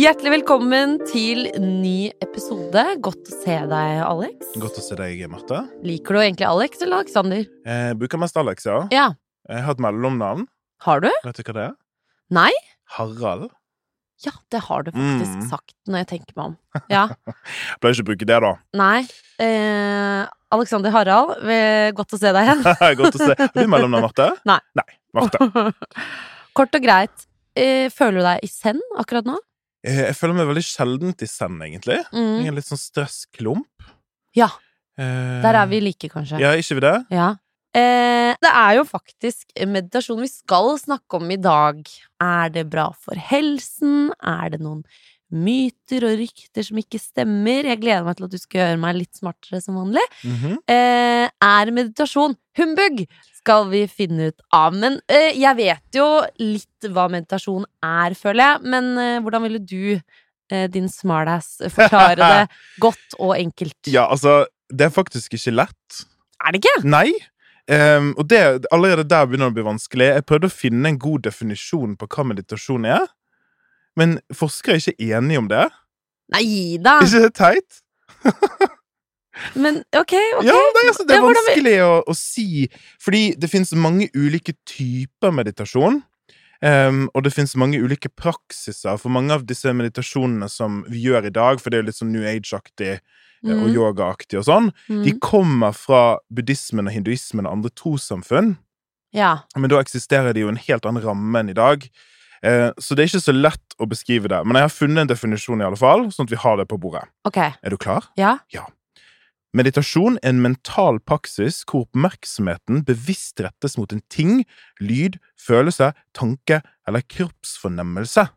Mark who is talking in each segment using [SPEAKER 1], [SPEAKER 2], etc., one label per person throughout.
[SPEAKER 1] Hjertelig velkommen til ny episode. Godt å se deg, Alex.
[SPEAKER 2] Godt å se deg, Marte.
[SPEAKER 1] Liker du egentlig Alex eller Alexander?
[SPEAKER 2] Eh, bruker mest Alex, ja.
[SPEAKER 1] Ja.
[SPEAKER 2] Jeg har et mellomnavn.
[SPEAKER 1] Har du?
[SPEAKER 2] Vet du hva det er?
[SPEAKER 1] Nei?
[SPEAKER 2] Harald.
[SPEAKER 1] Ja, det har du faktisk
[SPEAKER 2] Mm.
[SPEAKER 1] sagt når jeg tenker meg om. Ja,
[SPEAKER 2] Jeg pleier ikke å bruke det, da.
[SPEAKER 1] nei. Eh, Alexander Harald, eh, godt å se deg igjen.
[SPEAKER 2] Godt å se. Har du mellomnavn, Marte?
[SPEAKER 1] Nei.
[SPEAKER 2] Marte.
[SPEAKER 1] Kort og greit. Eh, føler du deg i send akkurat nå?
[SPEAKER 2] Eh, jeg føler meg veldig sjeldent i send, egentlig. Jeg
[SPEAKER 1] Mm.
[SPEAKER 2] er en litt sånn stressklump.
[SPEAKER 1] Ja,
[SPEAKER 2] Eh,
[SPEAKER 1] der er vi like, kanskje.
[SPEAKER 2] Ja, ikke vi det?
[SPEAKER 1] Ja. Eh, det er jo faktisk meditasjon vi skal snakke om i dag. Er det bra for helsen? Er det noen myter og rykter som ikke stemmer? Jeg gleder meg til at du skal gjøre meg litt smartere som vanlig.
[SPEAKER 2] Mhm.
[SPEAKER 1] Eh, er meditasjon humbug? Skal vi finne ut av. Men eh, jeg vet jo litt hva meditasjon er, føler jeg. Men eh, hvordan ville du, eh, din smartass, forklare det godt og enkelt?
[SPEAKER 2] Ja, altså, det er faktisk ikke lett.
[SPEAKER 1] Er det ikke?
[SPEAKER 2] Nei. Ehm, og det, allerede der begynner det å bli vanskelig. Jeg prøvde å finne en god definisjon på hva meditasjon er, men forskere er ikke enige om det.
[SPEAKER 1] Ah. Nei da!
[SPEAKER 2] Er ikke det teit?
[SPEAKER 1] Men ok, ok.
[SPEAKER 2] Ja, nei, altså, det
[SPEAKER 1] Ja,
[SPEAKER 2] er
[SPEAKER 1] hvordan vi-
[SPEAKER 2] vanskelig å, å si, fordi det finnes mange ulike typer meditasjon. ehm, og det finnes mange ulike praksiser for mange av disse meditasjonene som vi gjør i dag, for det er jo litt sånn New Age-aktig eh, og
[SPEAKER 1] Mm,
[SPEAKER 2] yogaaktig og sånn, de
[SPEAKER 1] mm.
[SPEAKER 2] kommer fra buddhismen og hinduismen og andre trossamfunn.
[SPEAKER 1] Ja.
[SPEAKER 2] Men da eksisterer det jo en helt annen ramme enn i dag. Eh, så det er ikke så lett å beskrive det. Men jeg har funnet en definisjon, i alle fall, sånn at vi har det på bordet.
[SPEAKER 1] Ok.
[SPEAKER 2] Er du klar?
[SPEAKER 1] Ja.
[SPEAKER 2] Meditasjon er en mental praksis hvor oppmerksomheten bevisst rettes mot en ting, lyd, følelse, tanke eller kroppsfornemmelse.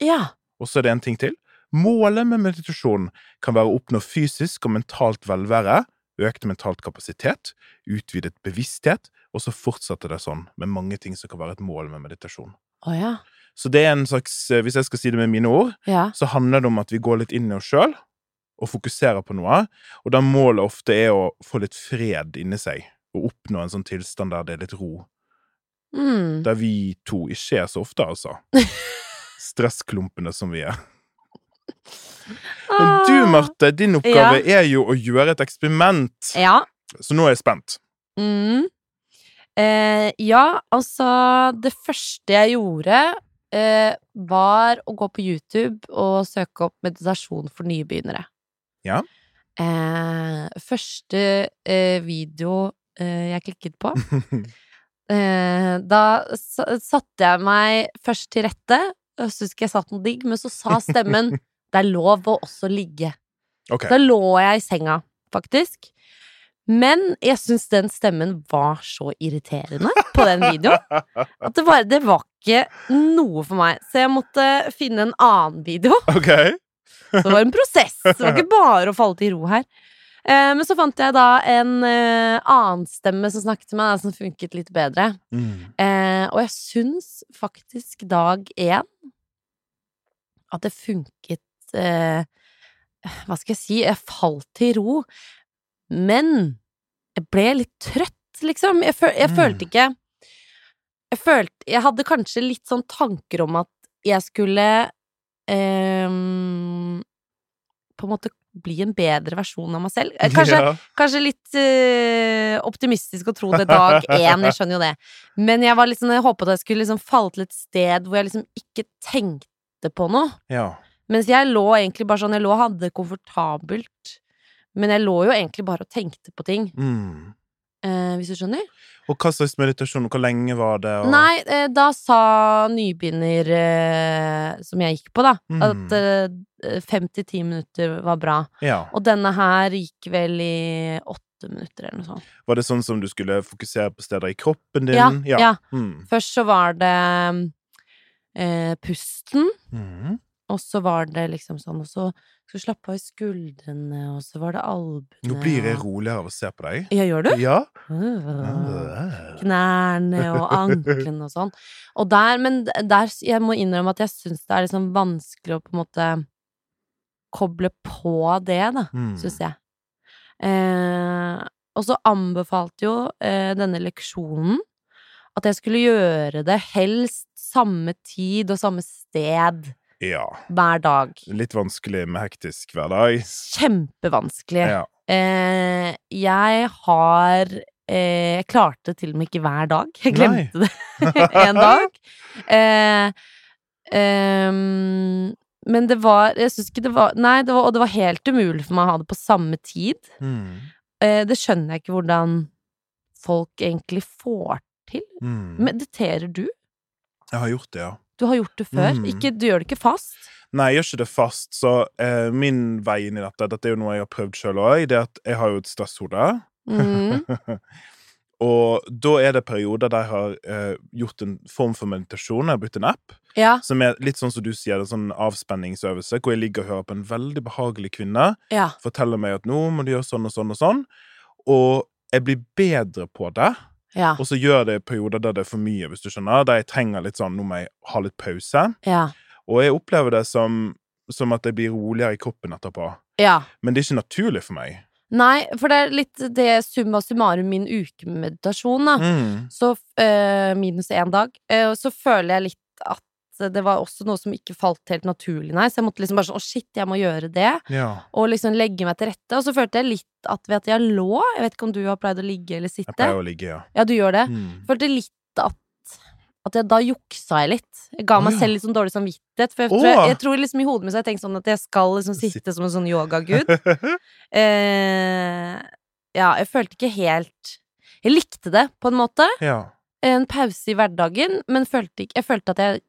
[SPEAKER 1] Ja.
[SPEAKER 2] Og så er det en ting til. Målet med meditasjon kan være å oppnå fysisk og mentalt velvære, økt mentalt kapasitet, utvidet bevissthet, og så fortsetter det sånn med mange ting som kan være et mål med meditasjon.
[SPEAKER 1] Å ja.
[SPEAKER 2] Så det er en slags, eh, hvis jeg skal si det med mine ord,
[SPEAKER 1] Ja.
[SPEAKER 2] så handler det om at vi går litt inn i oss sjøl og fokuserer på noe, og da målet ofte er å få litt fred inni seg, og oppnå en sånn tilstand der det er litt ro.
[SPEAKER 1] Mm.
[SPEAKER 2] Der vi to ikke er så ofte, altså. Stressklumpene som vi er.
[SPEAKER 1] Ah.
[SPEAKER 2] Men du, Marte, din oppgave er jo å gjøre et eksperiment.
[SPEAKER 1] Ja.
[SPEAKER 2] Så nå er jeg spent.
[SPEAKER 1] Mm. Eh, ja, altså Det første jeg gjorde, eh, var å gå på YouTube og søke opp meditasjon for nybegynnere.
[SPEAKER 2] Ja.
[SPEAKER 1] Eh, første eh, video eh, jeg klikket på eh, Da s- satte jeg meg først til rette. Jeg syns ikke jeg satt noe digg, men så sa stemmen Det er lov å også ligge.
[SPEAKER 2] Ok.
[SPEAKER 1] Da lå jeg i senga, faktisk. Men jeg syns den stemmen var så irriterende på den videoen at det, bare, det var ikke noe for meg. Så jeg måtte finne en annen video.
[SPEAKER 2] Ok.
[SPEAKER 1] Det var en prosess. Det var ikke bare å falle til ro her. Eh, Men så fant jeg da en eh, annen stemme som snakket til meg, da, som funket litt bedre.
[SPEAKER 2] Mm.
[SPEAKER 1] Eh, og jeg syns faktisk dag én at det funket eh, Hva skal jeg si? Jeg falt til ro. Men jeg ble litt trøtt, liksom. Jeg, føl jeg
[SPEAKER 2] Mm.
[SPEAKER 1] følte ikke jeg, følte, jeg hadde kanskje litt sånn tanker om at jeg skulle ehm, på en måte bli en bedre versjon av meg selv. Eh, Kanskje
[SPEAKER 2] Ja.
[SPEAKER 1] Kanskje litt eh, optimistisk å tro det dag én, jeg skjønner jo det. Men jeg, var litt sånn- jeg håpet at jeg skulle liksom falle til et sted hvor jeg liksom ikke tenkte på noe.
[SPEAKER 2] ja.
[SPEAKER 1] Mens jeg lå egentlig bare sånn, jeg lå og hadde det komfortabelt. Men jeg lå jo egentlig bare og tenkte på ting,
[SPEAKER 2] Mm.
[SPEAKER 1] eh, hvis du skjønner.
[SPEAKER 2] Og hva slags meditasjon, og hvor lenge var det? Og...
[SPEAKER 1] Nei, eh, da sa nybegynner eh, som jeg gikk på, da,
[SPEAKER 2] Mm.
[SPEAKER 1] at eh, fem til ti minutter var bra.
[SPEAKER 2] Ja.
[SPEAKER 1] Og denne her gikk vel i åtte minutter eller noe sånt.
[SPEAKER 2] Var det sånn som du skulle fokusere på steder i kroppen din?
[SPEAKER 1] Ja, ja.
[SPEAKER 2] Mm.
[SPEAKER 1] Først så var det eh, pusten,
[SPEAKER 2] Mm.
[SPEAKER 1] og så var det liksom sånn Og så skal du slappe av i skuldrene, og så var det albuene
[SPEAKER 2] Nå blir jeg
[SPEAKER 1] og-
[SPEAKER 2] roligere av å se på deg.
[SPEAKER 1] Ja, gjør du?
[SPEAKER 2] Ja.
[SPEAKER 1] Øh, Knærne og anklene og sånn. Og der, men der Jeg må innrømme at jeg syns det er liksom vanskelig å på en måte koble på det, da
[SPEAKER 2] Mm.
[SPEAKER 1] syns jeg. Eh, og så anbefalte jo eh, denne leksjonen at jeg skulle gjøre det helst samme tid og samme sted
[SPEAKER 2] Ja.
[SPEAKER 1] hver dag.
[SPEAKER 2] Litt vanskelig med hektisk hverdag.
[SPEAKER 1] Kjempevanskelig.
[SPEAKER 2] Ja.
[SPEAKER 1] Eh, jeg har eh, Jeg klarte til og med ikke hver dag. Jeg
[SPEAKER 2] Nei.
[SPEAKER 1] glemte det en dag. Eh, ehm, men det var Jeg syns ikke det var Nei, det var, og det var helt umulig for meg å ha det på samme tid.
[SPEAKER 2] Mm.
[SPEAKER 1] Eh, det skjønner jeg ikke hvordan folk egentlig får til.
[SPEAKER 2] Mm.
[SPEAKER 1] Mediterer du?
[SPEAKER 2] Jeg har gjort det, ja.
[SPEAKER 1] Du har gjort det før.
[SPEAKER 2] Mm.
[SPEAKER 1] Ikke, du gjør det ikke fast.
[SPEAKER 2] Nei, jeg gjør ikke det fast, så eh, min vei inn i dette Dette er jo noe jeg har prøvd sjøl òg. Det er at jeg har jo et stresshode.
[SPEAKER 1] Mm.
[SPEAKER 2] og da er det perioder der jeg har eh, gjort en form for meditasjon. Jeg har brukt en app
[SPEAKER 1] Ja,
[SPEAKER 2] som er litt sånn som du sier, en sånn avspenningsøvelse, hvor jeg ligger og hører på en veldig behagelig kvinne
[SPEAKER 1] ja.
[SPEAKER 2] fortelle meg at nå må du gjøre sånn og sånn og sånn. Og jeg blir bedre på det.
[SPEAKER 1] Ja.
[SPEAKER 2] Og så gjør jeg det i perioder der det er for mye, hvis du skjønner. Der jeg trenger litt sånn Nå må jeg ha litt pause.
[SPEAKER 1] Ja.
[SPEAKER 2] Og jeg opplever det som, som at jeg blir roligere i kroppen etterpå.
[SPEAKER 1] ja.
[SPEAKER 2] Men det er ikke naturlig for meg.
[SPEAKER 1] Nei, for det er litt det summa summarum min uke med meditasjon, da.
[SPEAKER 2] Mm.
[SPEAKER 1] Så eh, minus én dag. Eh, og så føler jeg litt at det var også noe som ikke falt helt naturlig, nei. Så jeg måtte liksom bare sånn Å, shit, jeg må gjøre det.
[SPEAKER 2] Ja.
[SPEAKER 1] Og liksom legge meg til rette. Og så følte jeg litt at ved at jeg lå Jeg vet ikke om du har pleid å ligge eller
[SPEAKER 2] Jeg
[SPEAKER 1] sitte.
[SPEAKER 2] pleier å ligge, ja.
[SPEAKER 1] Ja, du gjør det.
[SPEAKER 2] Mm.
[SPEAKER 1] Følte litt at at jeg, da juksa jeg litt. Jeg ga
[SPEAKER 2] Å,
[SPEAKER 1] meg
[SPEAKER 2] ja.
[SPEAKER 1] selv litt sånn dårlig samvittighet. For jeg,
[SPEAKER 2] Å.
[SPEAKER 1] tror, jeg, jeg tror liksom i hodet mitt så har jeg tenkt sånn at jeg skal liksom sitte som en sånn yogagud. Eh, ja, jeg følte ikke helt Jeg likte det, på en måte.
[SPEAKER 2] ja.
[SPEAKER 1] En pause i hverdagen, men følte ikke, jeg følte at jeg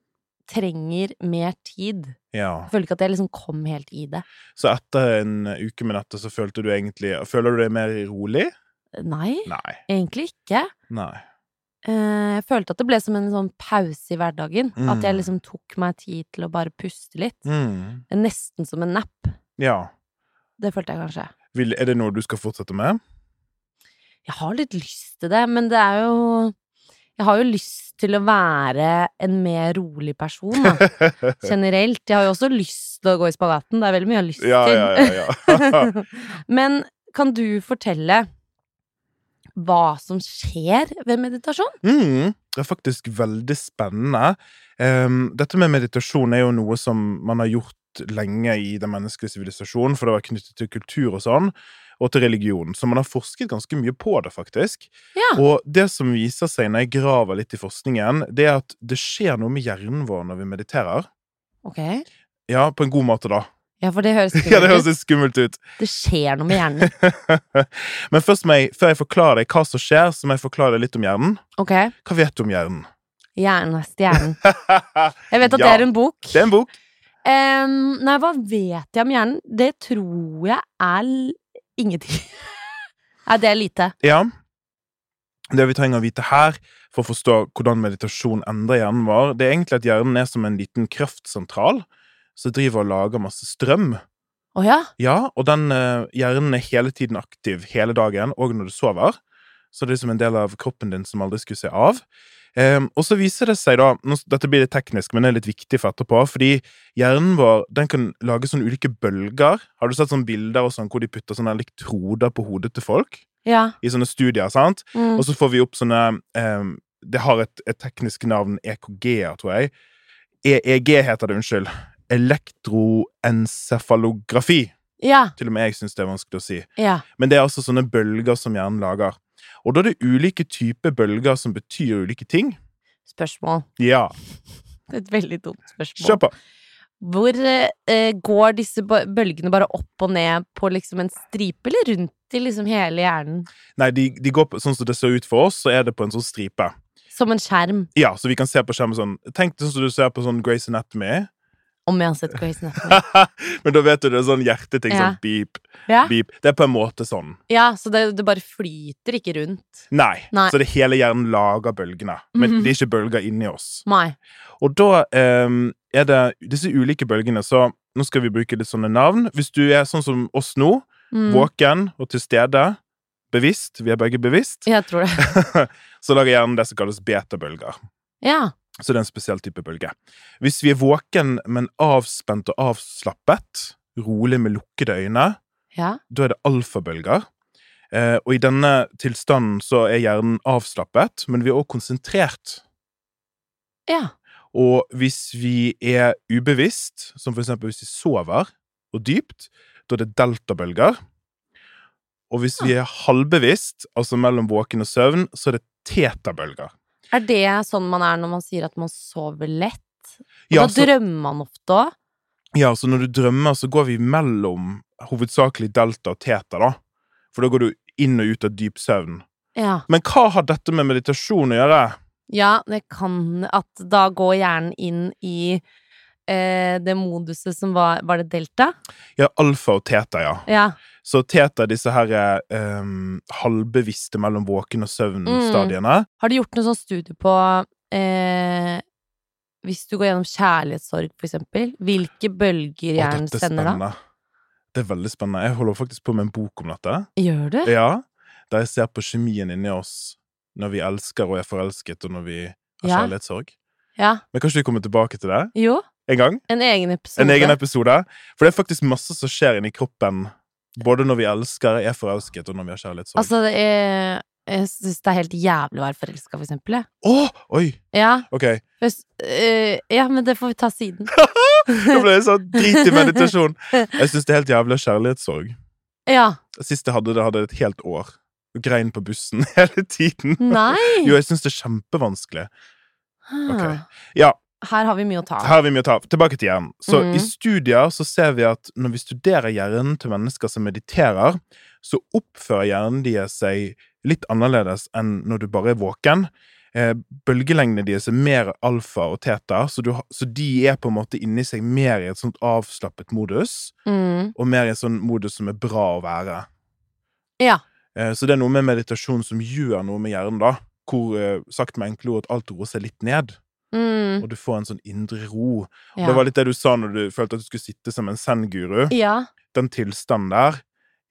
[SPEAKER 1] trenger mer tid.
[SPEAKER 2] Ja.
[SPEAKER 1] Jeg føler ikke at jeg liksom kom helt i det.
[SPEAKER 2] Så etter en uke med dette, så følte du egentlig Føler du deg mer rolig?
[SPEAKER 1] Nei,
[SPEAKER 2] Nei.
[SPEAKER 1] egentlig ikke.
[SPEAKER 2] Nei.
[SPEAKER 1] Eh, Jeg følte at det ble som en sånn pause i hverdagen.
[SPEAKER 2] Mm.
[SPEAKER 1] At jeg liksom tok meg tid til å bare puste litt.
[SPEAKER 2] Mm.
[SPEAKER 1] Nesten som en napp.
[SPEAKER 2] Ja.
[SPEAKER 1] Det følte jeg kanskje.
[SPEAKER 2] Vil, er det noe du skal fortsette med?
[SPEAKER 1] Jeg har litt lyst til det, men det er jo Jeg har jo lyst til å være en mer rolig person, da. generelt. Jeg har jo også lyst til å gå i spagaten. Det er veldig mye jeg har lyst til.
[SPEAKER 2] ja, ja, ja. ja.
[SPEAKER 1] Men kan du fortelle hva som skjer ved meditasjon?
[SPEAKER 2] Mm, det er faktisk veldig spennende. Em, dette med meditasjon er jo noe som man har gjort lenge i den menneskelige sivilisasjonen, for det var knyttet til kultur og sånn, og til religion. Så man har forsket ganske mye på det, faktisk.
[SPEAKER 1] Ja.
[SPEAKER 2] Og det som viser seg når jeg graver litt i forskningen, det er at det skjer noe med hjernen vår når vi mediterer.
[SPEAKER 1] Ok.
[SPEAKER 2] Ja, på en god måte, da.
[SPEAKER 1] Ja, for det høres
[SPEAKER 2] Ja, det høres
[SPEAKER 1] skummelt ut.
[SPEAKER 2] litt skummelt ut.
[SPEAKER 1] Det skjer noe med hjernen.
[SPEAKER 2] Men først må jeg, før jeg forklarer deg hva som skjer, så må jeg forklare deg litt om hjernen.
[SPEAKER 1] Ok.
[SPEAKER 2] Hva vet du om hjernen?
[SPEAKER 1] Hjernen er stjernen.
[SPEAKER 2] det
[SPEAKER 1] Jeg vet at
[SPEAKER 2] Ja.
[SPEAKER 1] det er en bok.
[SPEAKER 2] er en bok.
[SPEAKER 1] Em, nei, hva vet jeg om hjernen? Det tror jeg er l- ingenting. nei, det er lite.
[SPEAKER 2] Ja. Det vi trenger å vite her for å forstå hvordan meditasjon endrer hjernen vår, det er egentlig at hjernen er som en liten kraftsentral som driver og lager masse strøm.
[SPEAKER 1] Å ja?
[SPEAKER 2] Ja, og den eh, hjernen er hele tiden aktiv hele dagen, òg når du sover. Så det er som en del av kroppen din som aldri skulle se av. Ehm, og så viser det seg da, nå, s- Dette blir litt teknisk, men det er litt viktig for etterpå. fordi hjernen vår den kan lage sånne ulike bølger. Har du sett sånne bilder og sånn, hvor de putter sånne elektroder på hodet til folk?
[SPEAKER 1] Ja.
[SPEAKER 2] I sånne studier. sant?
[SPEAKER 1] Mm.
[SPEAKER 2] Og så får vi opp sånne ehm, Det har et, et teknisk navn, EKG-er, tror jeg. EEG heter det, unnskyld. Elektroencefalografi.
[SPEAKER 1] ja.
[SPEAKER 2] Til og med jeg syns det er vanskelig å si.
[SPEAKER 1] Ja.
[SPEAKER 2] Men det er altså sånne bølger som hjernen lager. Og da er det ulike typer bølger som betyr ulike ting.
[SPEAKER 1] Spørsmål.
[SPEAKER 2] Ja,
[SPEAKER 1] Det er et veldig dumt spørsmål.
[SPEAKER 2] kjør på!
[SPEAKER 1] Hvor eh, eh, går disse bø- bølgene bare opp og ned på liksom en stripe, eller rundt i liksom hele hjernen?
[SPEAKER 2] Nei, de, de går på, sånn som det ser ut for oss, så er det på en sånn stripe.
[SPEAKER 1] Som en skjerm,
[SPEAKER 2] Ja, så vi kan se på skjermen sånn Tenk det sånn som du ser på sånn Grace Anatomy.
[SPEAKER 1] om jeg har sett Grey's Anatomy.
[SPEAKER 2] Men da vet du det er sånn hjerteting.
[SPEAKER 1] Ja.
[SPEAKER 2] Sånn beep,
[SPEAKER 1] Ja.
[SPEAKER 2] beep. Det er på en måte sånn.
[SPEAKER 1] ja, så det, det bare flyter ikke rundt.
[SPEAKER 2] Nei.
[SPEAKER 1] Nei.
[SPEAKER 2] Så det hele hjernen lager bølgene. Men
[SPEAKER 1] Mhm.
[SPEAKER 2] det er ikke bølger inni oss.
[SPEAKER 1] Nei.
[SPEAKER 2] Og da ehm, er det disse ulike bølgene, så nå skal vi bruke litt sånne navn. Hvis du er sånn som oss nå,
[SPEAKER 1] Mm.
[SPEAKER 2] våken og til stede, bevisst, vi er begge bevisst,
[SPEAKER 1] Jeg tror det.
[SPEAKER 2] så lager hjernen det som kalles betabølger.
[SPEAKER 1] Ja.
[SPEAKER 2] Så det er en spesiell type bølge. Hvis vi er våken, men avspent og avslappet, rolig med lukkede øyne,
[SPEAKER 1] Ja.
[SPEAKER 2] da er det alfabølger. Eh, og i denne tilstanden så er hjernen avslappet, men vi er også konsentrert.
[SPEAKER 1] Ja.
[SPEAKER 2] Og hvis vi er ubevisst, som for eksempel hvis vi sover, og dypt, da er det deltabølger. Og hvis vi er halvbevisst, altså mellom våken og søvn, så er det tetabølger.
[SPEAKER 1] Er det sånn man er når man sier at man sover lett? Og
[SPEAKER 2] Ja,
[SPEAKER 1] da
[SPEAKER 2] så,
[SPEAKER 1] drømmer man ofte òg.
[SPEAKER 2] ja, så når du drømmer, så går vi mellom hovedsakelig delta og teta, da. For da går du inn og ut av dyp søvn.
[SPEAKER 1] Ja.
[SPEAKER 2] Men hva har dette med meditasjon å gjøre?
[SPEAKER 1] Ja, det kan at da går hjernen inn i eh, det moduset som var Var det delta?
[SPEAKER 2] Ja, alfa og teta, ja.
[SPEAKER 1] Ja.
[SPEAKER 2] Så teta er disse her ehm, halvbevisste mellom våken og
[SPEAKER 1] Mm.
[SPEAKER 2] søvn-stadiene.
[SPEAKER 1] Har du gjort noe sånn studie på eh, Hvis du går gjennom kjærlighetssorg, for eksempel, hvilke bølger
[SPEAKER 2] Å,
[SPEAKER 1] hjernen
[SPEAKER 2] dette er
[SPEAKER 1] sender da?
[SPEAKER 2] spennende. Det er veldig spennende. Jeg holder faktisk på med en bok om dette.
[SPEAKER 1] Gjør du?
[SPEAKER 2] Ja, Der jeg ser på kjemien inni oss når vi elsker og er forelsket, og når vi har
[SPEAKER 1] Ja.
[SPEAKER 2] kjærlighetssorg.
[SPEAKER 1] Ja.
[SPEAKER 2] Men kanskje vi kommer tilbake til det
[SPEAKER 1] Jo,
[SPEAKER 2] en gang?
[SPEAKER 1] en egen episode.
[SPEAKER 2] En egen episode? For det er faktisk masse som skjer inni kroppen. Både når vi elsker, er forelsket, og når vi har kjærlighetssorg.
[SPEAKER 1] Altså, det er, jeg syns det er helt jævlig å være forelska, for eksempel. jeg.
[SPEAKER 2] Åh, oi!
[SPEAKER 1] Ja,
[SPEAKER 2] Ok.
[SPEAKER 1] hvis, eh, ja, men det får vi ta siden.
[SPEAKER 2] Da ble det sånn drit i meditasjon. Jeg syns det er helt jævlig kjærlighetssorg.
[SPEAKER 1] Ja.
[SPEAKER 2] Sist jeg hadde det, hadde jeg et helt år. Og grein på bussen hele tiden.
[SPEAKER 1] Nei!
[SPEAKER 2] Jo, jeg syns det er kjempevanskelig.
[SPEAKER 1] Ah.
[SPEAKER 2] Ja,
[SPEAKER 1] Her har vi mye å ta av.
[SPEAKER 2] her har vi mye å ta. av. Tilbake til hjernen. Så
[SPEAKER 1] Mhm.
[SPEAKER 2] i studier så ser vi at når vi studerer hjernen til mennesker som mediterer, så oppfører hjernen deres seg litt annerledes enn når du bare er våken. Eh, Bølgelengdene deres er mer alfa og teta, så, du, ha- så de er på en måte inni seg mer i et sånt avslappet modus,
[SPEAKER 1] Mm.
[SPEAKER 2] og mer i en sånn modus som er bra å være.
[SPEAKER 1] Ja.
[SPEAKER 2] Eh, Så det er noe med meditasjon som gjør noe med hjernen, da. Hvor, eh, sagt med enkle ord, at alt roer seg litt ned,
[SPEAKER 1] Mm.
[SPEAKER 2] og du får en sånn indre ro.
[SPEAKER 1] Ja.
[SPEAKER 2] Det var litt det du sa når du følte at du skulle sitte som en zen-guru.
[SPEAKER 1] ja.
[SPEAKER 2] Den tilstanden der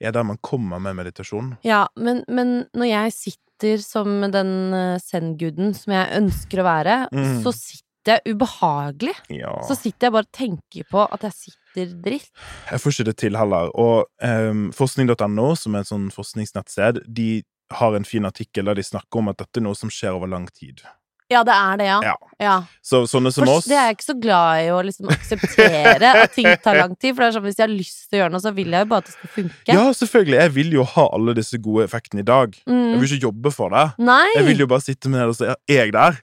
[SPEAKER 2] er der man kommer med meditasjon.
[SPEAKER 1] Ja, men, men når jeg sitter som den eh, zen-guden som jeg ønsker å være,
[SPEAKER 2] Mm.
[SPEAKER 1] så sitter jeg ubehagelig.
[SPEAKER 2] Ja.
[SPEAKER 1] Så sitter jeg bare og tenker på at jeg sitter dritt.
[SPEAKER 2] Jeg får ikke det til heller. Og ehm, forskning.no, som er et sånn forskningsnettsted, de har en fin artikkel der de snakker om at dette er noe som skjer over lang tid.
[SPEAKER 1] Ja, det er det, ja.
[SPEAKER 2] Ja.
[SPEAKER 1] ja.
[SPEAKER 2] Så sånne som
[SPEAKER 1] For
[SPEAKER 2] oss
[SPEAKER 1] det er jeg ikke så glad i å liksom akseptere at ting tar lang tid. For det er sånn, hvis jeg har lyst til å gjøre noe, så vil jeg jo bare at det skal funke.
[SPEAKER 2] Ja, selvfølgelig. Jeg vil jo ha alle disse gode effektene i dag. Jeg
[SPEAKER 1] Mm.
[SPEAKER 2] vil ikke jobbe for det.
[SPEAKER 1] Nei!
[SPEAKER 2] Jeg vil jo bare sitte med det og si er jeg der?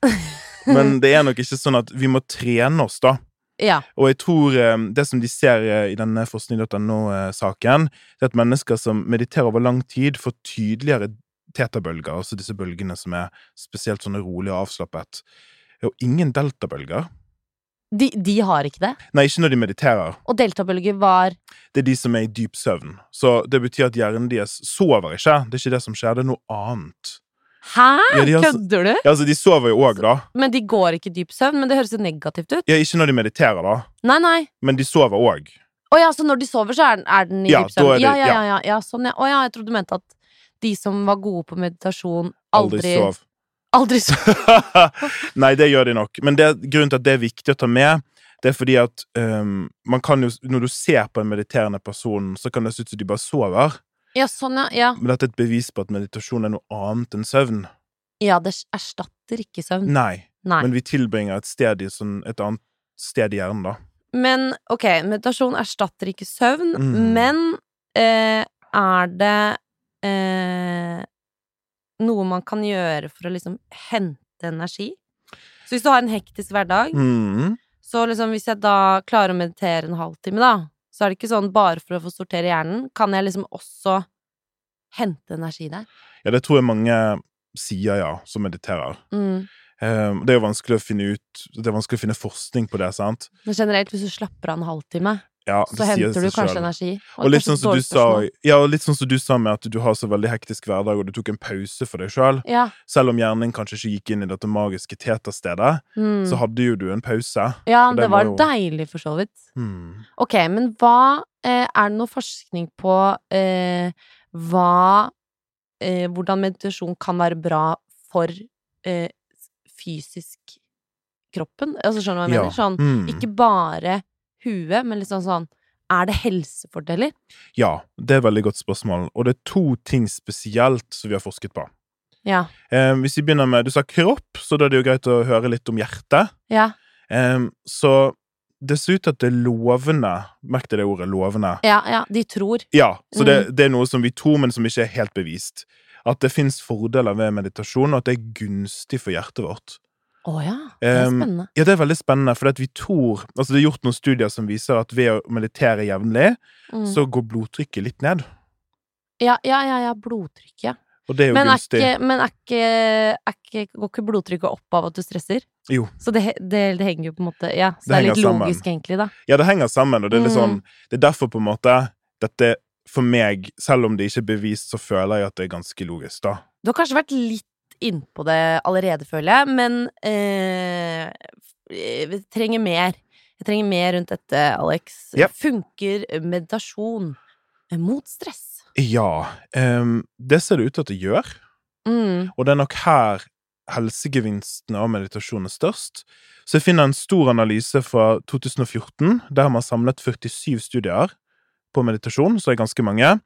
[SPEAKER 2] Men det er nok ikke sånn at vi må trene oss, da.
[SPEAKER 1] Ja.
[SPEAKER 2] Og jeg tror eh, det som de ser eh, i denne forskning.no-saken, eh, det er at mennesker som mediterer over lang tid, får tydeligere tetabølger, altså disse bølgene som er spesielt sånne rolig og avslappet. Og ingen deltabølger.
[SPEAKER 1] De, de har ikke det.
[SPEAKER 2] Nei, ikke når de mediterer.
[SPEAKER 1] Og deltabølger var
[SPEAKER 2] Det er de som er i dyp søvn. Så det betyr at hjernen deres sover ikke. Det er ikke det som skjer, det er noe annet.
[SPEAKER 1] Hæ?!
[SPEAKER 2] Ja, de har s-
[SPEAKER 1] Kødder du?
[SPEAKER 2] Ja, altså, de sover jo òg, da.
[SPEAKER 1] Men de går ikke i dyp søvn. Men det høres jo negativt ut.
[SPEAKER 2] Ja, ikke når de mediterer, da.
[SPEAKER 1] Nei, nei.
[SPEAKER 2] Men de sover òg.
[SPEAKER 1] Å ja, så når de sover, så er den, er den i
[SPEAKER 2] Ja,
[SPEAKER 1] dyp søvn?
[SPEAKER 2] da er det-
[SPEAKER 1] ja, ja,
[SPEAKER 2] ja.
[SPEAKER 1] ja, ja, ja, sånn, ja. Å ja, jeg trodde du mente at de som var gode på meditasjon,
[SPEAKER 2] Aldri,
[SPEAKER 1] aldri
[SPEAKER 2] sov.
[SPEAKER 1] Aldri sov.
[SPEAKER 2] Nei, det gjør de nok. Men det, grunnen til at det er viktig å ta med, det er fordi at øhm, man kan jo, når du ser på en mediterende person, så kan det se ut som de bare sover.
[SPEAKER 1] Ja, sånn, ja. Ja,
[SPEAKER 2] Men dette er et bevis på at meditasjon er noe annet enn søvn.
[SPEAKER 1] ja det erstatter ikke søvn.
[SPEAKER 2] Nei.
[SPEAKER 1] Mm. Nei.
[SPEAKER 2] Men vi tilbringer et sted i sånn, et annet sted i hjernen, da.
[SPEAKER 1] Men ok, meditasjon erstatter ikke søvn,
[SPEAKER 2] Mm.
[SPEAKER 1] men eh, er det eh, noe man kan gjøre for å liksom hente energi? Så hvis du har en hektisk hverdag,
[SPEAKER 2] Mm.
[SPEAKER 1] Så liksom hvis jeg da klarer å meditere en halvtime, da, så er det ikke sånn bare for å få sortere hjernen. Kan jeg liksom også hente energi der?
[SPEAKER 2] Ja, det tror jeg mange sier, ja, som mediterer.
[SPEAKER 1] Mm.
[SPEAKER 2] Ehm, det er jo vanskelig å finne ut Det er vanskelig å finne forskning på det, sant?
[SPEAKER 1] Men generelt, hvis du slapper av en halvtime,
[SPEAKER 2] Ja, det
[SPEAKER 1] så
[SPEAKER 2] sier
[SPEAKER 1] henter du
[SPEAKER 2] seg
[SPEAKER 1] kanskje
[SPEAKER 2] selv.
[SPEAKER 1] energi.
[SPEAKER 2] Og litt
[SPEAKER 1] kanskje
[SPEAKER 2] sånn, som du
[SPEAKER 1] dårlig
[SPEAKER 2] sa,
[SPEAKER 1] spørsmål.
[SPEAKER 2] ja, og litt sånn som du sa med at du har så veldig hektisk hverdag, og du tok en pause for deg sjøl. Selv.
[SPEAKER 1] Ja.
[SPEAKER 2] selv om hjernen din kanskje ikke gikk inn i dette magiske teterstedet,
[SPEAKER 1] Mm.
[SPEAKER 2] så hadde jo du en pause.
[SPEAKER 1] ja,
[SPEAKER 2] og
[SPEAKER 1] det
[SPEAKER 2] den
[SPEAKER 1] var
[SPEAKER 2] var jo-
[SPEAKER 1] deilig, for så vidt.
[SPEAKER 2] Hmm.
[SPEAKER 1] Ok, men hva eh, Er det noe forskning på eh, hva eh, Hvordan meditasjon kan være bra for eh, fysisk kroppen? Altså, skjønner du hva jeg
[SPEAKER 2] Ja.
[SPEAKER 1] mener? Sånn
[SPEAKER 2] Hmm.
[SPEAKER 1] Ikke bare huet, men liksom sånn Er det helsefordeler?
[SPEAKER 2] Ja, det er et veldig godt spørsmål. Og det er to ting spesielt som vi har forsket på.
[SPEAKER 1] Ja.
[SPEAKER 2] Eh, hvis vi begynner med, Du sa kropp, så da er det jo greit å høre litt om hjertet.
[SPEAKER 1] Ja.
[SPEAKER 2] Em, så det ser ut til at det er lovende Merk deg det ordet, lovende.
[SPEAKER 1] Ja, ja, de tror.
[SPEAKER 2] Ja, så det,
[SPEAKER 1] Mm.
[SPEAKER 2] det er noe som vi tror, men som ikke er helt bevist. At det fins fordeler ved meditasjon, og at det er gunstig for hjertet vårt.
[SPEAKER 1] Å ja, det er
[SPEAKER 2] Em,
[SPEAKER 1] spennende.
[SPEAKER 2] Ja, det er veldig spennende, for at vi tror Altså, det er gjort noen studier som viser at ved å meditere jevnlig,
[SPEAKER 1] Mm.
[SPEAKER 2] så går blodtrykket litt ned.
[SPEAKER 1] Ja, ja, ja, ja, blodtrykk, ja.
[SPEAKER 2] Og det er jo
[SPEAKER 1] Men, er
[SPEAKER 2] gunstig.
[SPEAKER 1] ikke, men er ikke, er ikke, går ikke blodtrykket opp av at du stresser?
[SPEAKER 2] Jo.
[SPEAKER 1] Så det, he- det, det henger jo på en måte Ja, så
[SPEAKER 2] Det
[SPEAKER 1] det, er litt
[SPEAKER 2] henger sammen.
[SPEAKER 1] logisk, egentlig, da.
[SPEAKER 2] Ja, det henger sammen, og det er litt sånn
[SPEAKER 1] Mm.
[SPEAKER 2] Det er derfor, på en måte, dette for meg, selv om det ikke er bevist, så føler jeg at det er ganske logisk, da.
[SPEAKER 1] Du har kanskje vært litt innpå det allerede, føler jeg, men eh, vi trenger mer. Jeg trenger mer rundt dette, Alex.
[SPEAKER 2] Ja.
[SPEAKER 1] Funker meditasjon mot stress?
[SPEAKER 2] Ja. em, det ser det ut til at det gjør,
[SPEAKER 1] Mm.
[SPEAKER 2] og det er nok her helsegevinsten av meditasjon er størst. Så jeg finner en stor analyse fra 2014, der man samlet 47 studier på meditasjon, så er det ganske mange,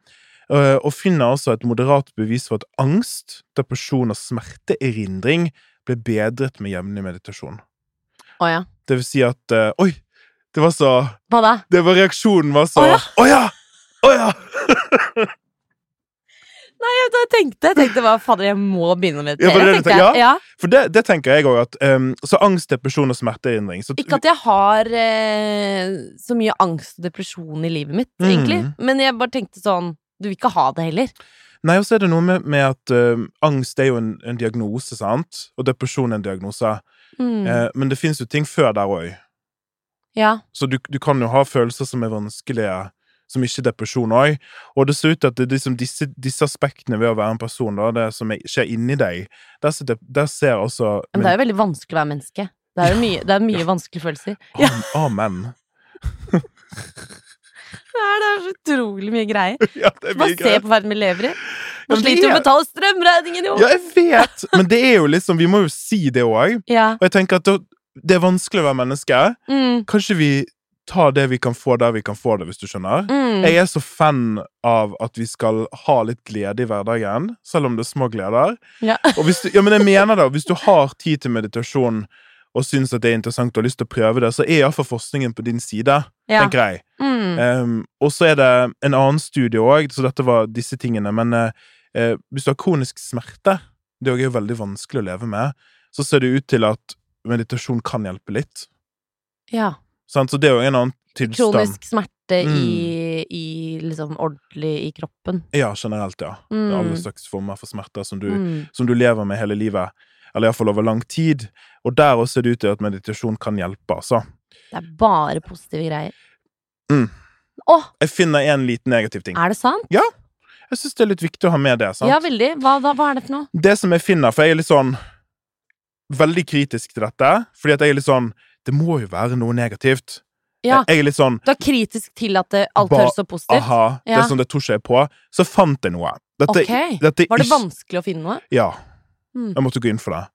[SPEAKER 2] eh, og finner altså et moderat bevis for at angst, depresjon og smerteerindring ble bedret med jevnlig meditasjon.
[SPEAKER 1] Å ja.
[SPEAKER 2] Det vil si at eh, Oi! Det var så
[SPEAKER 1] Hva da?
[SPEAKER 2] det var Reaksjonen var så
[SPEAKER 1] Å ja.
[SPEAKER 2] Å ja! Å ja!
[SPEAKER 1] Jeg, jeg tenkte, jeg tenkte bare, fader, jeg må begynne med
[SPEAKER 2] Ja,
[SPEAKER 1] det.
[SPEAKER 2] var det det du
[SPEAKER 1] tenkte
[SPEAKER 2] tenkte?
[SPEAKER 1] jeg. Ja.
[SPEAKER 2] For det, det tenker jeg òg at em, Så angst, depresjon og smerteerindring så-
[SPEAKER 1] Ikke at jeg har eh, så mye angst og depresjon i livet mitt, egentlig.
[SPEAKER 2] Mhm.
[SPEAKER 1] Men jeg bare tenkte sånn Du vil ikke ha det heller.
[SPEAKER 2] Nei, og så er det noe med, med at em, angst er jo en, en diagnose, sant? Og depresjon er en diagnose.
[SPEAKER 1] Mm.
[SPEAKER 2] Eh, men det fins jo ting før der òg.
[SPEAKER 1] ja.
[SPEAKER 2] Så du, du kan jo ha følelser som er vanskelige, som ikke er depresjon òg. Og det ser ut til at det er liksom disse, disse aspektene ved å være en person, da, det som er, skjer inni deg, der, ser det- der ser også
[SPEAKER 1] Men det er jo veldig vanskelig å være menneske. Det er jo mye, det er mye vanskelige følelser. Ja,
[SPEAKER 2] Am- Amen.
[SPEAKER 1] det er, det er så utrolig mye greier.
[SPEAKER 2] Ja, det er
[SPEAKER 1] Bare
[SPEAKER 2] mye
[SPEAKER 1] se
[SPEAKER 2] greier.
[SPEAKER 1] på verden vi lever i.
[SPEAKER 2] Ja,
[SPEAKER 1] Nå
[SPEAKER 2] men det
[SPEAKER 1] sliter vi med
[SPEAKER 2] er-
[SPEAKER 1] å betale strømregningen, jo!
[SPEAKER 2] Ja, jeg vet! Men det er jo liksom, vi må jo si det òg.
[SPEAKER 1] Ja.
[SPEAKER 2] Og jeg tenker at da- det er vanskelig å være menneske.
[SPEAKER 1] Mm.
[SPEAKER 2] Kanskje vi tar det vi kan få der vi kan få det, hvis du skjønner.
[SPEAKER 1] Mm.
[SPEAKER 2] Jeg er så fan av at vi skal ha litt glede i hverdagen, selv om det er små gleder.
[SPEAKER 1] Ja.
[SPEAKER 2] Og hvis du, ja, men jeg mener det, og hvis du har tid til meditasjon og syns at det er interessant og har lyst til å prøve det, så er iallfall forskningen på din side,
[SPEAKER 1] Ja.
[SPEAKER 2] tenker jeg.
[SPEAKER 1] Mm.
[SPEAKER 2] Um, og så er det en annen studie òg, så dette var disse tingene. Men eh, eh, hvis du har kronisk smerte, det er jo veldig vanskelig å leve med, så ser det ut til at meditasjon kan hjelpe litt.
[SPEAKER 1] ja.
[SPEAKER 2] Sant? Så det er jo en annen tilstand.
[SPEAKER 1] Kronisk smerte
[SPEAKER 2] Mm.
[SPEAKER 1] i, i liksom ordentlig i kroppen.
[SPEAKER 2] Ja, generelt, ja. Det er Alle
[SPEAKER 1] Mm.
[SPEAKER 2] slags former for smerter som du,
[SPEAKER 1] Mm.
[SPEAKER 2] som du lever med hele livet. Eller iallfall over lang tid. Og der også ser det ut til at meditasjon kan hjelpe, altså.
[SPEAKER 1] Det er bare positive greier.
[SPEAKER 2] Mm.
[SPEAKER 1] Å,
[SPEAKER 2] Jeg finner en liten negativ ting.
[SPEAKER 1] er det sant?
[SPEAKER 2] Jeg syns det er litt viktig å ha med det. sant?
[SPEAKER 1] Ja, veldig. Hva, da, hva er det for noe?
[SPEAKER 2] det som jeg finner, for jeg er litt sånn Veldig kritisk til dette. Fordi at jeg er litt sånn Det må jo være noe negativt.
[SPEAKER 1] Ja.
[SPEAKER 2] Jeg er litt sånn
[SPEAKER 1] Du er kritisk til at det, alt
[SPEAKER 2] Ba-
[SPEAKER 1] høres så positivt?
[SPEAKER 2] Aha, det
[SPEAKER 1] Ja.
[SPEAKER 2] som det tror ikke jeg på. Så fant jeg noe.
[SPEAKER 1] Ok.
[SPEAKER 2] Dette, dette er
[SPEAKER 1] Var det
[SPEAKER 2] ikke-
[SPEAKER 1] vanskelig å finne noe?
[SPEAKER 2] Ja.
[SPEAKER 1] Mm.
[SPEAKER 2] Jeg måtte gå inn for det.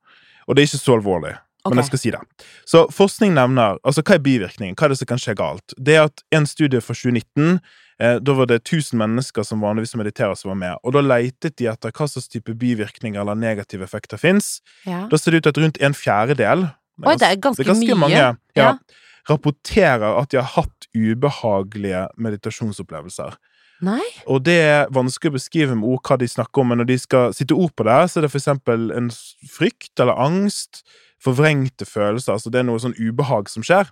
[SPEAKER 2] Og det er ikke så alvorlig.
[SPEAKER 1] Ok.
[SPEAKER 2] Men jeg skal si det. Så forskning nevner Altså, hva er bivirkningen? Hva er det som kan skje galt? Det er at en studie fra 2019 eh, Da var det 1000 mennesker som vanligvis mediterer, som var med. Og da leitet de etter hva slags type bivirkninger eller negative effekter fins.
[SPEAKER 1] Ja.
[SPEAKER 2] Da ser det ut til at rundt en fjerdedel altså,
[SPEAKER 1] Oi, det er ganske, mye.
[SPEAKER 2] mange, ja,
[SPEAKER 1] Ja.
[SPEAKER 2] rapporterer at de har hatt ubehagelige meditasjonsopplevelser.
[SPEAKER 1] Nei?
[SPEAKER 2] Og det er vanskelig å beskrive med ord hva de snakker om, men når de skal sitte ord på det, så er det for eksempel en s- frykt eller angst, forvrengte følelser, altså det er noe sånn ubehag som skjer.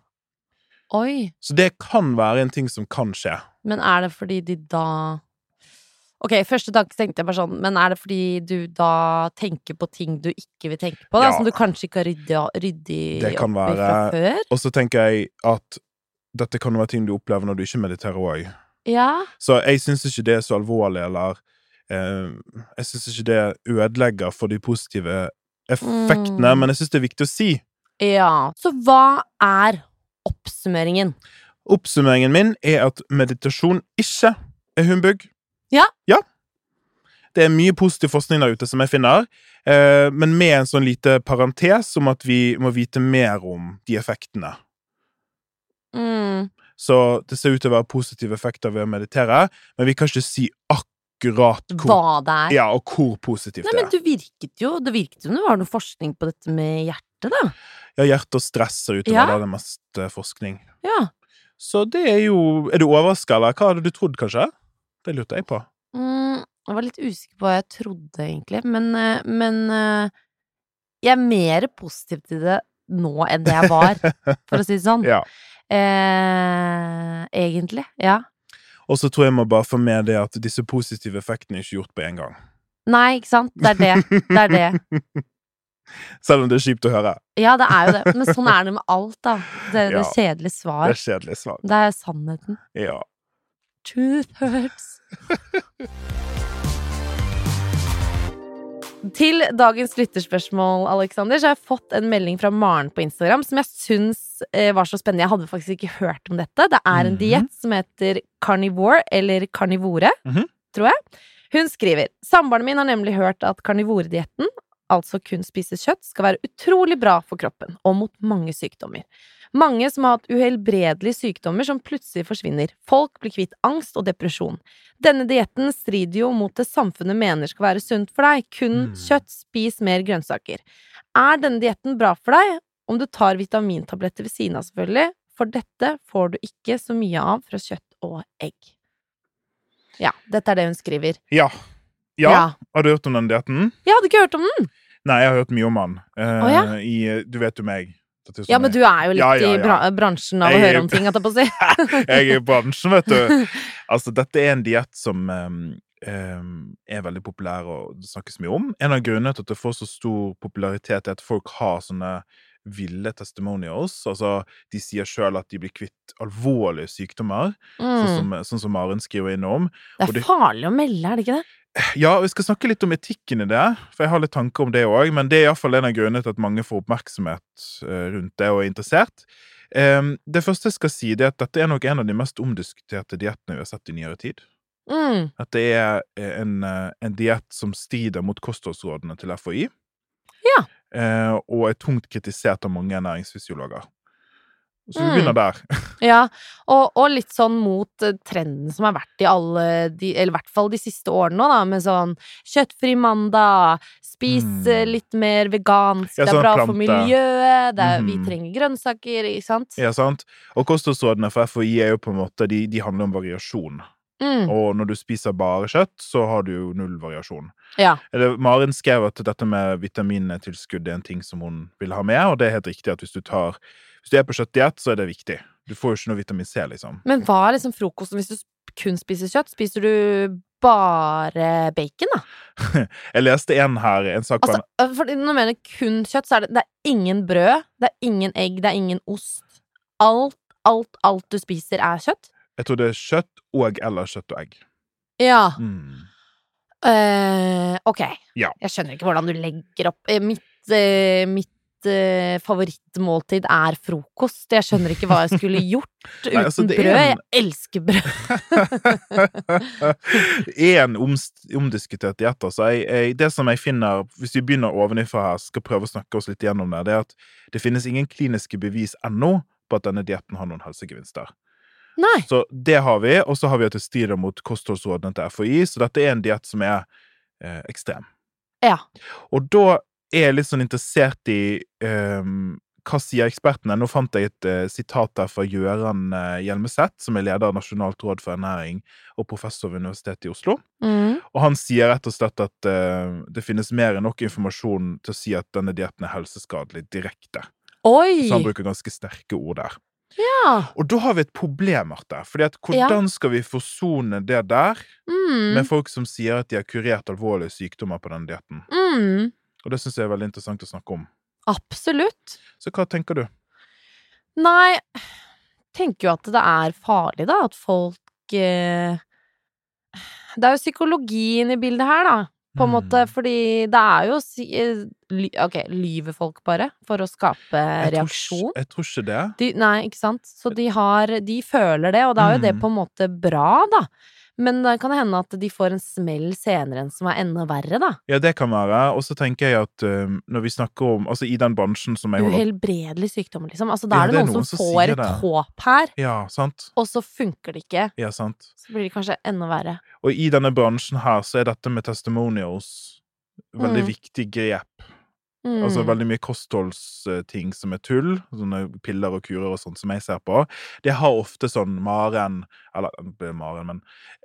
[SPEAKER 1] Oi.
[SPEAKER 2] Så det kan være en ting som kan skje.
[SPEAKER 1] Men er det fordi de da Ok, første tanke tenkte jeg bare sånn, men er det fordi du da tenker på ting du ikke vil tenke på, da?
[SPEAKER 2] Ja.
[SPEAKER 1] Som du kanskje ikke har ryddig, ryddig
[SPEAKER 2] Det kan
[SPEAKER 1] opp i fra
[SPEAKER 2] være-
[SPEAKER 1] før?
[SPEAKER 2] Og så tenker jeg at dette kan være ting du opplever når du ikke mediterer òg.
[SPEAKER 1] Ja.
[SPEAKER 2] Så jeg syns ikke det er så alvorlig, eller eh, Jeg syns ikke det ødelegger for de positive effektene,
[SPEAKER 1] Mm.
[SPEAKER 2] men jeg syns det er viktig å si.
[SPEAKER 1] Ja. Så hva er oppsummeringen?
[SPEAKER 2] Oppsummeringen min er at meditasjon ikke er humbug.
[SPEAKER 1] Ja.
[SPEAKER 2] Det er mye positiv forskning der ute som jeg finner, eh, men med en sånn lite parentes om at vi må vite mer om de effektene.
[SPEAKER 1] Mm.
[SPEAKER 2] Så det ser ut til å være positive effekter ved å meditere, men vi kan ikke si akkurat hvor,
[SPEAKER 1] Hva det er?
[SPEAKER 2] ja, og hvor positivt
[SPEAKER 1] Nei,
[SPEAKER 2] det
[SPEAKER 1] men
[SPEAKER 2] er.
[SPEAKER 1] du virket jo Det virket jo som det var noe forskning på dette med hjertet, da.
[SPEAKER 2] Ja, hjerte og stress er utover
[SPEAKER 1] Ja.
[SPEAKER 2] da det er mest eh, forskning.
[SPEAKER 1] Ja.
[SPEAKER 2] Så det er jo Er du overraska, eller hva hadde du trodd, kanskje? Det lurte jeg på.
[SPEAKER 1] Mm, jeg var litt usikker på hva jeg trodde, egentlig. Men, eh, men eh, jeg er mer positiv til det nå enn det jeg var, for å si det sånn.
[SPEAKER 2] Ja.
[SPEAKER 1] Eh, egentlig. Ja.
[SPEAKER 2] Og så tror jeg må bare få med det at disse positive effektene er ikke gjort på én gang.
[SPEAKER 1] Nei, ikke sant? Det er det. Det er det.
[SPEAKER 2] Selv om det er kjipt å høre.
[SPEAKER 1] Ja, det er jo det. Men sånn er det med alt, da. Det, det
[SPEAKER 2] Ja.
[SPEAKER 1] kjedelige
[SPEAKER 2] Det er
[SPEAKER 1] svar.
[SPEAKER 2] kjedelig svar.
[SPEAKER 1] Det er sannheten.
[SPEAKER 2] Ja.
[SPEAKER 1] Truth hurts. Til dagens lytterspørsmål, Alexander, så har jeg fått en melding fra Maren på Instagram som jeg syns eh, var så spennende. Jeg hadde faktisk ikke hørt om dette. Det er en
[SPEAKER 2] Mhm.
[SPEAKER 1] diett som heter carnivore, eller carnivore,
[SPEAKER 2] Mhm.
[SPEAKER 1] tror jeg. Hun skriver Samboeren min har nemlig hørt at karnivoredietten, altså kun spise kjøtt, skal være utrolig bra for kroppen, og mot mange sykdommer. Mange som har hatt uhelbredelige sykdommer som plutselig forsvinner. Folk blir kvitt angst og depresjon. Denne dietten strider jo mot det samfunnet mener skal være sunt for deg. Kun
[SPEAKER 2] Mm.
[SPEAKER 1] kjøtt, spis mer grønnsaker. Er denne dietten bra for deg om du tar vitamintabletter ved siden av, selvfølgelig? For dette får du ikke så mye av fra kjøtt og egg. Ja, dette er det hun skriver.
[SPEAKER 2] Ja. ja. Har du hørt om den dietten?
[SPEAKER 1] Jeg hadde ikke hørt om den!
[SPEAKER 2] Nei, jeg har hørt mye om den. Eh,
[SPEAKER 1] Å, ja?
[SPEAKER 2] i, du vet jo meg. Dette er jo
[SPEAKER 1] Ja,
[SPEAKER 2] sånn
[SPEAKER 1] men
[SPEAKER 2] jeg-
[SPEAKER 1] du er jo litt
[SPEAKER 2] Ja, ja,
[SPEAKER 1] i
[SPEAKER 2] ja.
[SPEAKER 1] bra bransjen av
[SPEAKER 2] Jeg
[SPEAKER 1] å
[SPEAKER 2] er-
[SPEAKER 1] høre om ting, holdt jeg på å si.
[SPEAKER 2] Jeg er i bransjen, vet du. Altså, dette er en diett som eh, eh, er veldig populær og det snakkes mye om. En av grunnene til at det får så stor popularitet, er at folk har sånne ville testimonials. Altså, de sier sjøl at de blir kvitt alvorlige sykdommer, sånn,
[SPEAKER 1] Mm.
[SPEAKER 2] som, sånn som Maren skriver innom.
[SPEAKER 1] Det
[SPEAKER 2] og
[SPEAKER 1] er
[SPEAKER 2] det-
[SPEAKER 1] farlig å melde, er det ikke det?
[SPEAKER 2] Ja, og vi skal snakke litt om etikken i det, for jeg har litt tanker om det òg. Men det er iallfall en av grunnene til at mange får oppmerksomhet eh, rundt det og er interessert. Em, det første jeg skal si, det er at dette er nok en av de mest omdiskuterte diettene vi har sett i nyere tid.
[SPEAKER 1] Mm.
[SPEAKER 2] At det er eh, en, eh, en diett som strider mot kostholdsrådene til FHI.
[SPEAKER 1] Ja.
[SPEAKER 2] Eh, og er tungt kritisert av mange ernæringsfysiologer. Så vi
[SPEAKER 1] Mm.
[SPEAKER 2] begynner der.
[SPEAKER 1] Ja, og, og litt sånn mot eh, trenden som har vært i alle de, Eller i hvert fall de siste årene nå, da, med sånn kjøttfri mandag, spis
[SPEAKER 2] Mm.
[SPEAKER 1] eh, litt mer vegansk,
[SPEAKER 2] Ja,
[SPEAKER 1] det
[SPEAKER 2] sånn
[SPEAKER 1] er bra
[SPEAKER 2] plante.
[SPEAKER 1] for miljøet, det er, vi
[SPEAKER 2] Mhm.
[SPEAKER 1] trenger grønnsaker, ikke sant?
[SPEAKER 2] Ja, sant? Og kostholdsrådene for FHI er jo på en måte, de, de handler om variasjon.
[SPEAKER 1] Mm.
[SPEAKER 2] Og når du spiser bare kjøtt, så har du jo null variasjon.
[SPEAKER 1] Ja.
[SPEAKER 2] Eller, Maren skrev at dette med vitamintilskudd er en ting som hun vil ha med, og det er helt riktig at hvis du, tar, hvis du er på kjøttdiett, så er det viktig. Du får jo ikke noe vitamin C, liksom.
[SPEAKER 1] Men hva er liksom frokosten hvis du sp- kun spiser kjøtt? Spiser du bare bacon, da?
[SPEAKER 2] Jeg leste en her, en sak på
[SPEAKER 1] Altså, eh, for når jeg mener kun kjøtt, så er det, det er ingen brød, det er ingen egg, det er ingen ost. Alt, alt, alt du spiser, er kjøtt.
[SPEAKER 2] Jeg tror det er kjøtt og eller kjøtt og egg.
[SPEAKER 1] Ja.
[SPEAKER 2] Mm.
[SPEAKER 1] Eh, ok.
[SPEAKER 2] Ja.
[SPEAKER 1] Jeg skjønner ikke hvordan du legger opp Eh, Mitt, eh, mitt eh, favorittmåltid er frokost. Jeg skjønner ikke hva jeg skulle gjort uten
[SPEAKER 2] Nei, altså, det er
[SPEAKER 1] brød.
[SPEAKER 2] en-
[SPEAKER 1] Jeg elsker brød.
[SPEAKER 2] en omst- omdiskutert diett, altså. Jeg, jeg, det som jeg finner, hvis vi begynner ovenifra her, skal prøve å snakke oss litt gjennom det, det er at det finnes ingen kliniske bevis ennå på at denne dietten har noen helsegevinster.
[SPEAKER 1] Nei.
[SPEAKER 2] Så det har vi, og så har vi at det strider mot kostholdsrådene til FHI, så dette er en diett som er eh, ekstrem.
[SPEAKER 1] Ja.
[SPEAKER 2] Og da er jeg litt sånn interessert i ehm, hva sier ekspertene? Nå fant jeg et eh, sitat der fra Gjøran eh, Hjelmeset, som er leder av Nasjonalt råd for ernæring og professor ved Universitetet i Oslo.
[SPEAKER 1] Mm.
[SPEAKER 2] Og han sier rett og slett at eh, det finnes mer enn nok informasjon til å si at denne dietten er helseskadelig direkte. Så han
[SPEAKER 1] Oi!
[SPEAKER 2] bruker ganske sterke ord der.
[SPEAKER 1] Ja.
[SPEAKER 2] Og da har vi et problem, Marte. Fordi at hvordan skal vi forsone det der
[SPEAKER 1] Mm.
[SPEAKER 2] med folk som sier at de har kurert alvorlige sykdommer på denne dietten?
[SPEAKER 1] Mm.
[SPEAKER 2] Og det syns jeg er veldig interessant å snakke om.
[SPEAKER 1] Absolutt.
[SPEAKER 2] Så hva tenker du?
[SPEAKER 1] Nei, tenker jo at det er farlig, da. At folk eh, Det er jo psykologien i bildet her, da. På en
[SPEAKER 2] Mm.
[SPEAKER 1] måte, eh, fordi det er jo si- eh, ly, Ok, lyver folk bare for å skape
[SPEAKER 2] Jeg tror
[SPEAKER 1] reaksjon?
[SPEAKER 2] ikke- Jeg tror ikke det.
[SPEAKER 1] De, nei, ikke sant? Så de har De føler det, og da er jo det
[SPEAKER 2] Mm.
[SPEAKER 1] på en måte bra, da. Men det kan hende at de får en smell senere enn som er enda verre, da.
[SPEAKER 2] Ja, det kan være. Og så tenker jeg at um, når vi snakker om Altså, i den bransjen som jeg holder
[SPEAKER 1] Uhelbredelig sykdom, liksom. Altså,
[SPEAKER 2] Ja,
[SPEAKER 1] da er det, noen, som
[SPEAKER 2] sier
[SPEAKER 1] får et
[SPEAKER 2] det.
[SPEAKER 1] håp her,
[SPEAKER 2] Ja, sant?
[SPEAKER 1] og så funker det ikke.
[SPEAKER 2] Ja, sant.
[SPEAKER 1] Så blir det kanskje enda verre.
[SPEAKER 2] Og i denne bransjen her så er dette med testimonials veldig
[SPEAKER 1] Mm.
[SPEAKER 2] viktig grep
[SPEAKER 1] Mm.
[SPEAKER 2] Altså veldig mye kostholdsting som er tull, sånne piller og kurer og sånt som jeg ser på. Det har ofte sånn Maren Eller det blir Maren, men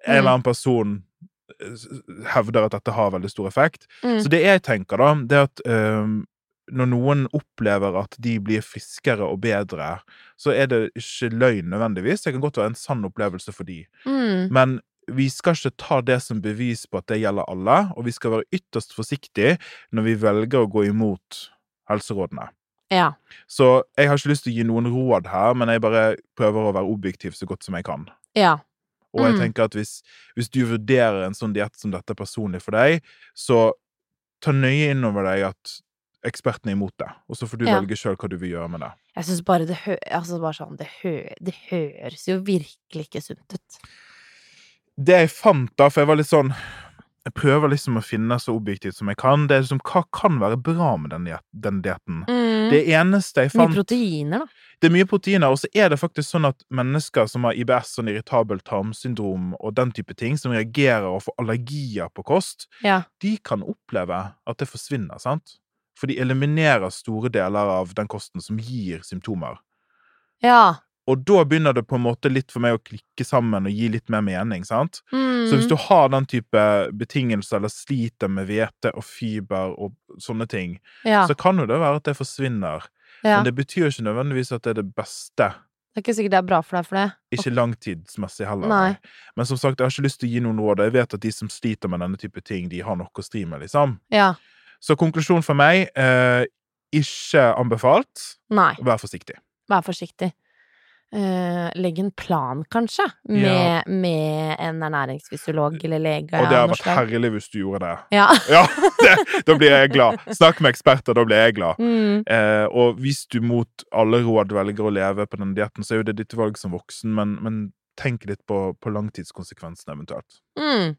[SPEAKER 2] en
[SPEAKER 1] Mm.
[SPEAKER 2] eller annen person eh, s- hevder at dette har veldig stor effekt.
[SPEAKER 1] Mm.
[SPEAKER 2] Så det jeg tenker, da, det er at eh, når noen opplever at de blir friskere og bedre, så er det ikke løgn nødvendigvis. Det kan godt være en sann opplevelse for de.
[SPEAKER 1] Mm.
[SPEAKER 2] Men vi skal ikke ta det som bevis på at det gjelder alle, og vi skal være ytterst forsiktige når vi velger å gå imot helserådene.
[SPEAKER 1] Ja.
[SPEAKER 2] Så jeg har ikke lyst til å gi noen råd her, men jeg bare prøver å være objektiv så godt som jeg kan.
[SPEAKER 1] Ja.
[SPEAKER 2] Og jeg
[SPEAKER 1] Mm.
[SPEAKER 2] tenker at hvis, hvis du vurderer en sånn diett som dette personlig for deg, så ta nøye innover deg at ekspertene er imot det, og så får du
[SPEAKER 1] Ja.
[SPEAKER 2] velge sjøl hva du vil gjøre med det.
[SPEAKER 1] Jeg syns bare det hø... Altså bare sånn, det, hø... det høres jo virkelig ikke sunt ut.
[SPEAKER 2] det jeg fant da, for jeg var litt sånn Jeg prøver liksom å finne så objektivt som jeg kan. Det er liksom, Hva kan være bra med den, diet- den dietten? Det eneste jeg
[SPEAKER 1] Mm. Mye
[SPEAKER 2] fant
[SPEAKER 1] proteiner, da.
[SPEAKER 2] Det er mye proteiner, og så er det faktisk sånn at mennesker som har IBS, sånn irritabelt tarmsyndrom og den type ting, som reagerer og får allergier på kost,
[SPEAKER 1] Ja.
[SPEAKER 2] de kan oppleve at det forsvinner, sant? For de eliminerer store deler av den kosten som gir symptomer.
[SPEAKER 1] ja.
[SPEAKER 2] Og da begynner det på en måte litt for meg å klikke sammen og gi litt mer mening, sant?
[SPEAKER 1] Mm.
[SPEAKER 2] Så hvis du har den type betingelser, eller sliter med hvete og fiber og sånne ting,
[SPEAKER 1] ja.
[SPEAKER 2] så kan jo det være at det forsvinner.
[SPEAKER 1] ja.
[SPEAKER 2] Men
[SPEAKER 1] Det...
[SPEAKER 2] det betyr ikke nødvendigvis at det er det beste.
[SPEAKER 1] er ikke sikkert det er bra for deg for det.
[SPEAKER 2] Ikke langtidsmessig heller.
[SPEAKER 1] Nei.
[SPEAKER 2] Men som sagt, jeg har ikke lyst til å gi noen råd. og Jeg vet at de som sliter med denne type ting, de har noe å stri med, liksom.
[SPEAKER 1] Ja.
[SPEAKER 2] Så konklusjonen for meg eh, ikke anbefalt.
[SPEAKER 1] Nei.
[SPEAKER 2] Vær forsiktig.
[SPEAKER 1] Vær forsiktig. Eh, legg en plan, kanskje, med,
[SPEAKER 2] Ja.
[SPEAKER 1] med en ernæringsfysiolog eller lege.
[SPEAKER 2] Og det
[SPEAKER 1] av
[SPEAKER 2] hadde
[SPEAKER 1] noe
[SPEAKER 2] vært
[SPEAKER 1] slag.
[SPEAKER 2] herlig hvis du gjorde det.
[SPEAKER 1] Ja.
[SPEAKER 2] Ja, det, da blir jeg glad. Snakk med eksperter, da blir jeg glad.
[SPEAKER 1] Mm.
[SPEAKER 2] Eh, og hvis du mot alle råd velger å leve på den dietten, så er jo det ditt valg som voksen, men, men tenk litt på, på langtidskonsekvensene eventuelt.
[SPEAKER 1] Mm.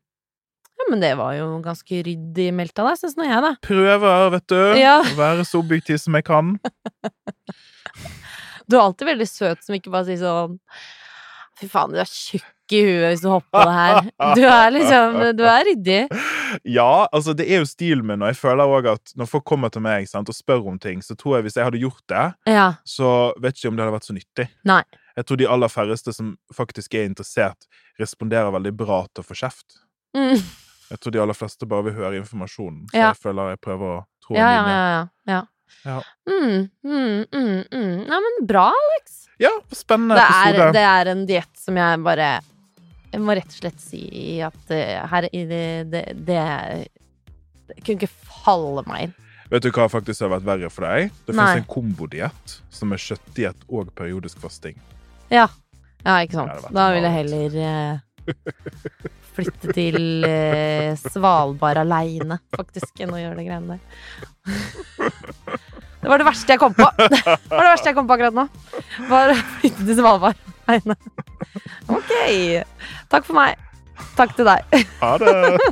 [SPEAKER 1] Ja, men det var jo ganske ryddig meldt av deg, syns nå jeg, da.
[SPEAKER 2] Prøver, vet du.
[SPEAKER 1] Ja.
[SPEAKER 2] Å være så objektiv som jeg kan.
[SPEAKER 1] Du er alltid veldig søt som ikke bare sier sånn Fy faen, du er tjukk i huet hvis du hopper på det her. Du er liksom Du er ryddig.
[SPEAKER 2] Ja, altså det er jo stilen min, og jeg føler òg at når folk kommer til meg sant, og spør om ting, så tror jeg hvis jeg hadde gjort det,
[SPEAKER 1] Ja.
[SPEAKER 2] så vet ikke om det hadde vært så nyttig.
[SPEAKER 1] Nei.
[SPEAKER 2] Jeg tror de aller færreste som faktisk er interessert, responderer veldig bra til å få kjeft.
[SPEAKER 1] Mm.
[SPEAKER 2] Jeg tror de aller fleste bare vil høre informasjonen, så
[SPEAKER 1] Ja.
[SPEAKER 2] jeg føler jeg prøver å tro
[SPEAKER 1] Ja,
[SPEAKER 2] en
[SPEAKER 1] ja,
[SPEAKER 2] linje.
[SPEAKER 1] ja. ja. ja.
[SPEAKER 2] Ja.
[SPEAKER 1] Mm, mm, mm, mm. Nei, men bra, Alex.
[SPEAKER 2] Ja, spennende
[SPEAKER 1] det
[SPEAKER 2] episode.
[SPEAKER 1] er, det er en diett som jeg bare Jeg må rett og slett si at eh, her i det Det, det, det kunne ikke falle meg inn.
[SPEAKER 2] Vet du hva faktisk har vært verre for deg?
[SPEAKER 1] Nei.
[SPEAKER 2] Det finnes en kombodiett som er kjøttdiett og periodisk fasting.
[SPEAKER 1] Ja. ja, ikke
[SPEAKER 2] Ja, det
[SPEAKER 1] sant.
[SPEAKER 2] var
[SPEAKER 1] Da vil jeg
[SPEAKER 2] smalt.
[SPEAKER 1] heller eh, flytte til eh, Svalbard aleine, faktisk, enn å gjøre det greiene der. Det var det verste jeg kom på. Det var det verste jeg kom på akkurat nå. Var å flytte til Svalbard aleine. Ok. Takk for meg. Takk til deg.
[SPEAKER 2] Ha det!